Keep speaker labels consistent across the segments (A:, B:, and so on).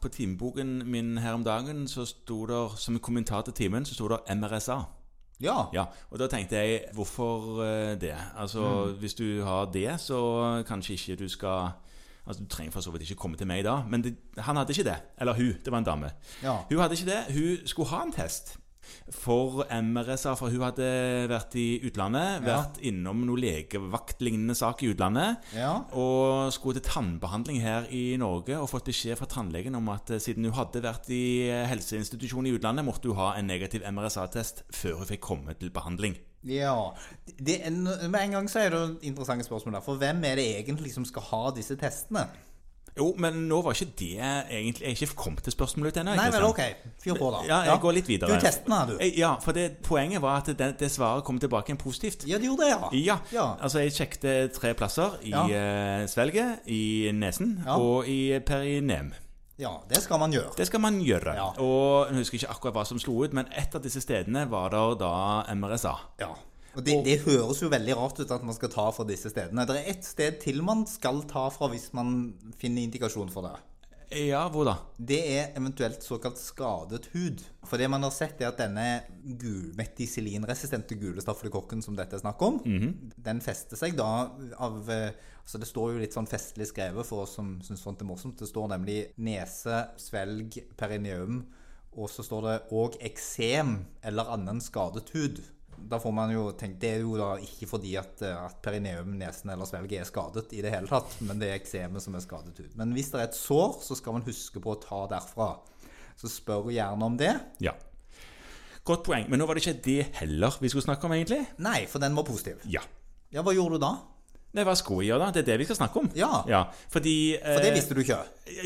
A: på timeboken min her om dagen så sto der, som en kommentar til timen, så sto der MRSA.
B: Ja.
A: Ja, og da tenkte jeg, hvorfor eh, det? Altså,
B: Mm.
A: hvis du har det, så kanskje ikke du skal... Altså, du trenger for så vidt ikke komme til meg da, men det, han hadde ikke det. Eller hun, det var en dame.
B: Ja.
A: Hun hadde ikke det, hun skulle ha en test. For MRSA, for hun hadde vært i utlandet,
B: Ja.
A: vært innom noe legevaktlignende sak i utlandet,
B: Ja.
A: og skulle til tannbehandling her i Norge, og fått beskjed fra tannlegen om at eh, siden hun hadde vært i eh, helseinstitusjon i utlandet, måtte hun ha en negativ MRSA-test før hun fikk komme til behandling.
B: Ja. Det, er- med en gang så er det interessante spørsmål der. For hvem er det egentlig som skal ha disse testene?
A: Jo, men nå var ikke det egentlig, jeg er ikke kommet til spørsmålet ditt ennå.
B: Nei vel,
A: Kristian.
B: ok. Fyr på, da.
A: Ja, jeg går litt videre.
B: Du testene, du.
A: Eh, Ja, for det, poenget var at det, det svaret kom tilbake igjen positivt.
B: Ja, du gjorde det, ja.
A: Ja.
B: Ja.
A: Altså, jeg sjekket tre plasser. I
B: Ja.
A: eh, svelget, i nesen
B: Ja.
A: og i perinem.
B: ja. Det skal man gjøre.
A: Det skal man gjøre.
B: Ja.
A: Og jeg husker ikke akkurat hva som slo ut, men et av disse stedene var der da MRSA.
B: Ja. Og det, det høres jo veldig rart ut at man skal ta fra disse stedene. Det er ett sted til man skal ta fra hvis man finner indikasjon for det.
A: Ja, hvor da?
B: Det er eventuelt såkalt skadet hud. For det man har sett, er at denne gul, metisilinresistente gule staffelkokken som dette er snakk om, den fester seg da av eh, Altså det står jo litt sånn festlig skrevet for oss som syns sånt er morsomt. Det står nemlig nese, svelg, perineum, og så står det òg eksem eller annen skadet hud. Da får man jo tenkt, Det er jo da ikke fordi at, eh, at perineum, nesen eller svelget er skadet i det hele tatt, men det er eksemet som er skadet hud. Men hvis det er et sår, så skal man huske på å ta derfra. Så spør gjerne om det.
A: Ja. Godt poeng. Men nå var det ikke det heller vi skulle snakke om, egentlig.
B: Nei, for den var positiv.
A: Ja.
B: Ja, hva gjorde du da?
A: Nei, hva skulle jeg gjøre da? Det er det vi skal snakke om.
B: Ja.
A: Fordi
B: For det
A: eh,
B: visste du ikke.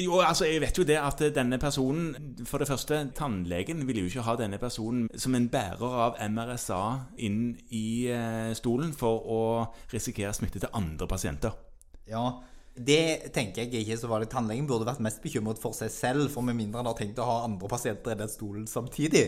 A: Jo, altså, jeg vet jo det at denne personen For det første, tannlegen ville jo ikke ha denne personen som en bærer av MRSA inn i eh, stolen for å risikere smitte til andre pasienter.
B: Ja, det tenker jeg ikke så var det. Tannlegen burde vært mest bekymret for seg selv, for med mindre han har tenkt å ha andre pasienter i den stolen samtidig.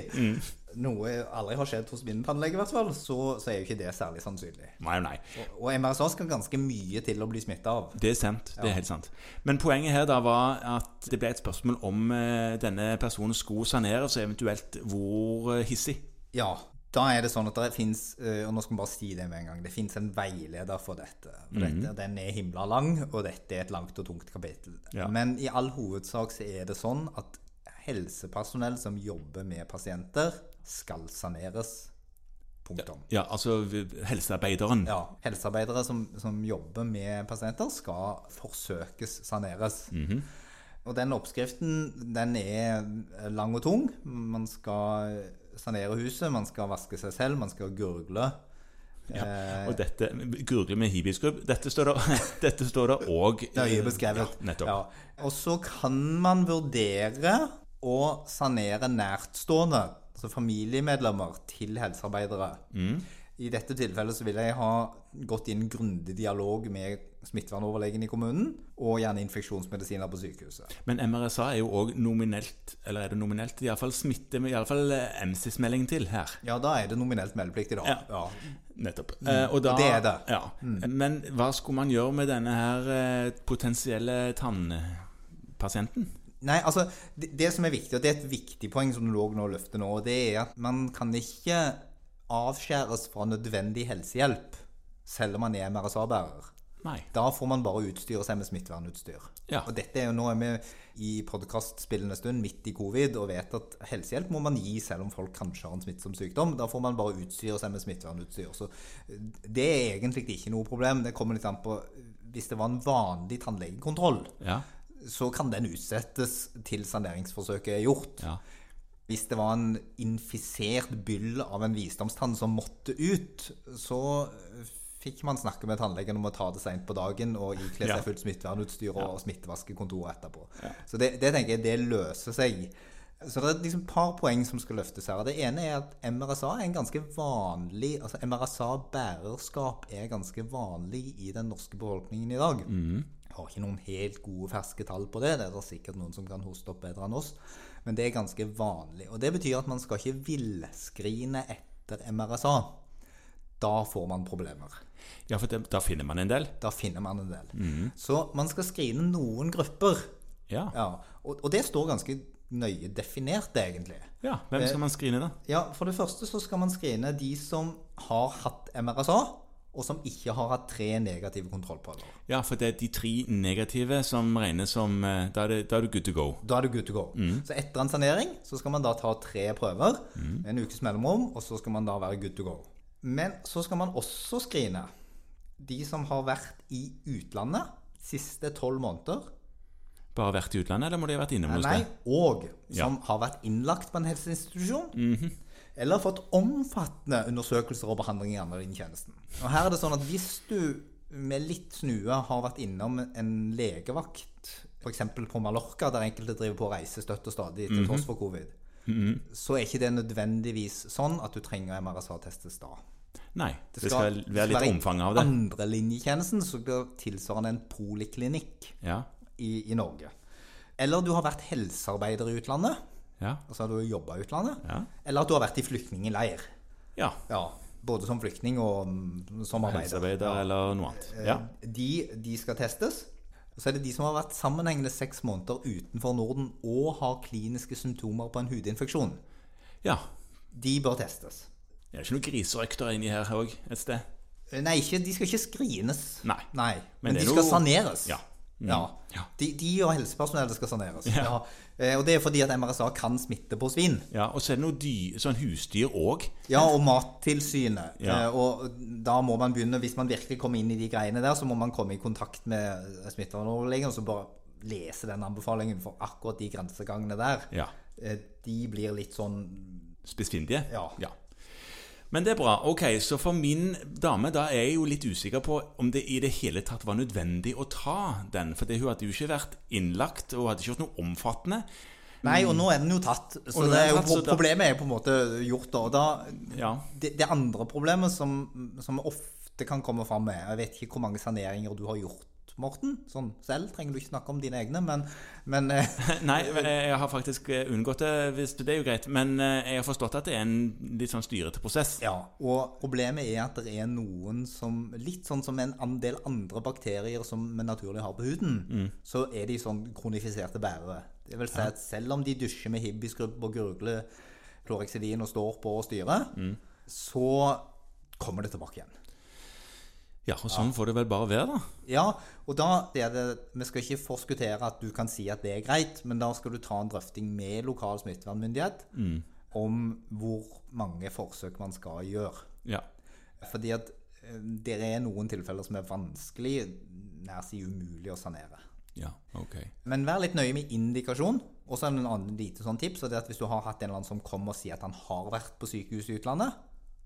B: Noe aldri har skjedd hos min tannlege, i hvert fall, så, så er jo ikke det særlig sannsynlig.
A: Nei, nei.
B: Og MRSA skal ganske mye til å bli smitta av.
A: Det er sant. Det er helt sant. Men poenget her da var at det ble et spørsmål om eh, denne personen skulle saneres, og eventuelt hvor eh, hissig.
B: Ja, da er det sånn at det fins Og nå skal vi bare si det med en gang. Det fins en veileder for dette. For dette den er himla lang, og dette er et langt og tungt kapittel.
A: Ja.
B: Men i all hovedsak så er det sånn at helsepersonell som jobber med pasienter, skal saneres. Punktum.
A: Ja, altså v- helsearbeideren.
B: Ja. Helsearbeidere som, som jobber med pasienter, skal forsøkes saneres. Og den oppskriften den er lang og tung. Man skal sanere huset, man skal vaske seg selv, man skal gurgle. Eh,
A: Og dette gurgler med hibisgrubb. Dette står der- dette står det òg.
B: nøye beskrevet.
A: Ja, nettopp.
B: Ja. Og så kan man vurdere å sanere nærtstående, altså familiemedlemmer, til helsearbeidere.
A: Mm.
B: I dette tilfellet så vil jeg ha gått inn grundig dialog med smittevernoverlegen i kommunen, og gjerne infeksjonsmedisiner på sykehuset.
A: Men MRSA er jo òg nominelt, eller er det nominelt, i alle fall smitte, i alle fall eh, MSIS-melding til her.
B: Ja, da er det nominelt meldeplikt i dag.
A: Ja.
B: Ja.
A: Nettopp. Eh, og da,
B: Mm. Det er det. Mm.
A: Ja. Men hva skulle man gjøre med denne her eh, potensielle tannpasienten?
B: Nei, altså, det, det som er viktig, og det er et viktig poeng som lå nå og løftet nå, og det er at man kan ikke avskjæres fra nødvendig helsehjelp selv om man er MRSA-bærer.
A: Nei.
B: Da får man bare utstyre seg med smittevernutstyr.
A: Ja.
B: Og dette er jo nå er vi i podkastspillende stund midt i covid og vet at helsehjelp må man gi selv om folk kanskje har en smittsom sykdom. Da får man bare utstyre seg med smittevernutstyr. Så eh, det er egentlig ikke noe problem. Det kommer litt an på eh, Hvis det var en vanlig tannlegekontroll,
A: Ja.
B: så kan den utsettes til saneringsforsøket er gjort.
A: ja.
B: Hvis det var en infisert byll av en visdomstann som måtte ut, så eh, fikk man snakke med tannlegen om å ta det seint på dagen og ikle
A: Ja.
B: seg fullt smittevernutstyr og smittevaske kontoret etterpå. Så det, det tenker jeg, det løser seg. Så det er liksom et par poeng som skal løftes her. Det ene er at MRSA er en ganske vanlig Altså MRSA-bærerskap er ganske vanlig i den norske befolkningen i dag. Jeg har ikke noen helt gode ferske tall på det. Det er det sikkert noen som kan hoste opp bedre enn oss. Men det er ganske vanlig. Og det betyr at man skal ikke villskrine etter MRSA. Da får man problemer.
A: ja, for det, da finner man en del.
B: Da finner man en del. Så man skal skrine noen grupper.
A: Ja.
B: Ja. Og, og det står ganske nøye definert, egentlig.
A: ja. Hvem skal man skrine, da?
B: Ja, For det første så skal man screene de som har hatt MRSA, og som ikke har hatt tre negative kontrollprøver.
A: Ja, for det er de tre negative som regnes som eh, Da er, det, da er du good to go.
B: Da er det good to go. Så etter en sanering så skal man da ta tre prøver, en ukes mellomrom, og så skal man da være good to go. Men så skal man også screene de som har vært i utlandet siste tolv måneder.
A: Bare vært i utlandet, eller må de ha vært innom hos
B: Nei,
A: deg?
B: og som har vært innlagt på en helseinstitusjon.
A: Mhm.
B: Eller fått omfattende undersøkelser og behandling i anerkjennelsen. Og her er det sånn at hvis du med litt snue har vært innom en legevakt, f.eks. på Mallorca, der enkelte driver på reise støtt og stadig
A: Mhm.
B: til tross for covid, så er ikke det nødvendigvis sånn at du trenger MRSA-testes da.
A: Nei. Det skal være litt omfang av det.
B: Andrelinjetjenesten, så blir tilsvarende en poliklinikk
A: Ja.
B: i, i Norge. Eller du har vært helsearbeider i utlandet.
A: Ja.
B: Altså du har jobba i utlandet.
A: Ja.
B: Eller at du har vært i flyktningleir.
A: ja.
B: Ja, både som flyktning og mm, som arbeider.
A: Helsearbeider eller noe annet. Ja.
B: De, de skal testes. Så er det de som har vært sammenhengende seks måneder utenfor Norden og har kliniske symptomer på en hudinfeksjon.
A: ja.
B: De bør testes.
A: Det er ikke noen griserøkter inni her òg et sted?
B: Eh, Nei, ikke, de skal ikke screenes.
A: Nei.
B: Nei. Men,
A: det er
B: de skal
A: noe-
B: saneres. Mm.
A: Ja.
B: Ja.
A: Ja.
B: De, de og helsepersonellet skal saneres. Ja. Eh, Og det er fordi at MRSA kan smitte på svin.
A: Ja, Og så er det noe dy, sånn husdyr òg.
B: Ja, og Mattilsynet.
A: Ja.
B: Eh, Og da må man begynne, hvis man virkelig kommer inn i de greiene der, så må man komme i kontakt med smittevernoverlegen og så bare lese den anbefalingen for akkurat de grensegangene der.
A: Ja.
B: Eh, De blir litt sånn
A: Spissfindige.
B: Ja.
A: Men det er bra. Ok, Så for min dame da er jeg jo litt usikker på om det i det hele tatt var nødvendig å ta den. For det- hun hadde jo ikke vært innlagt og hadde ikke gjort noe omfattende.
B: Nei, og nå er den jo tatt, så
A: nå er
B: det er
A: den
B: jo,
A: tatt, så da-
B: problemet er jo på en måte gjort da. Og da
A: Ja.
B: det, det andre problemet som, som ofte kan komme fram med Jeg vet ikke hvor mange saneringer du har gjort, Morten. Sånn selv trenger du ikke snakke om dine egne, men, men eh,
A: Nei, jeg har faktisk eh, unngått det. hvis Det er jo greit. Men eh, jeg har forstått at det er en litt sånn styrete prosess.
B: Ja, og problemet er at det er noen som Litt sånn som en an- del andre bakterier som vi naturlig har på huden, så er de sånn kronifiserte bærere. Det vil si at selv om de dusjer med hibbiskrubb og gurgler klorexidin og står på og styrer, så kommer det tilbake igjen.
A: Ja, og sånn får det vel bare være, da.
B: Ja, og da er det Vi skal ikke forskuttere at du kan si at det er greit, men da skal du ta en drøfting med lokal smittevernmyndighet om hvor mange forsøk man skal gjøre.
A: Ja.
B: Fordi at eh, det er noen tilfeller som er vanskelig, nær si umulig å sanere.
A: Ja, ok.
B: Men vær litt nøye med indikasjon. Og så er det en annen lite sånn tips, og det er at hvis du har hatt en eller annen som kommer og sier at han har vært på sykehus i utlandet,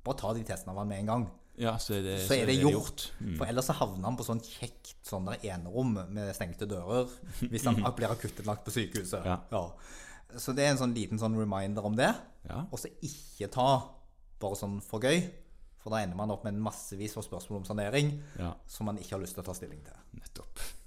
B: bare ta de testene av han med en gang.
A: Ja, så er det,
B: Så er det gjort. For ellers så havner han på sånn kjekt sånn der enerom med stengte dører hvis han blir akuttinnlagt på sykehuset.
A: Ja.
B: Så det er en sånn liten sånn reminder om det.
A: Ja.
B: Og så ikke ta bare sånn for gøy, for da ender man opp med en massevis av spørsmål om sanering
A: Ja,
B: som man ikke har lyst til å ta stilling til.
A: nettopp.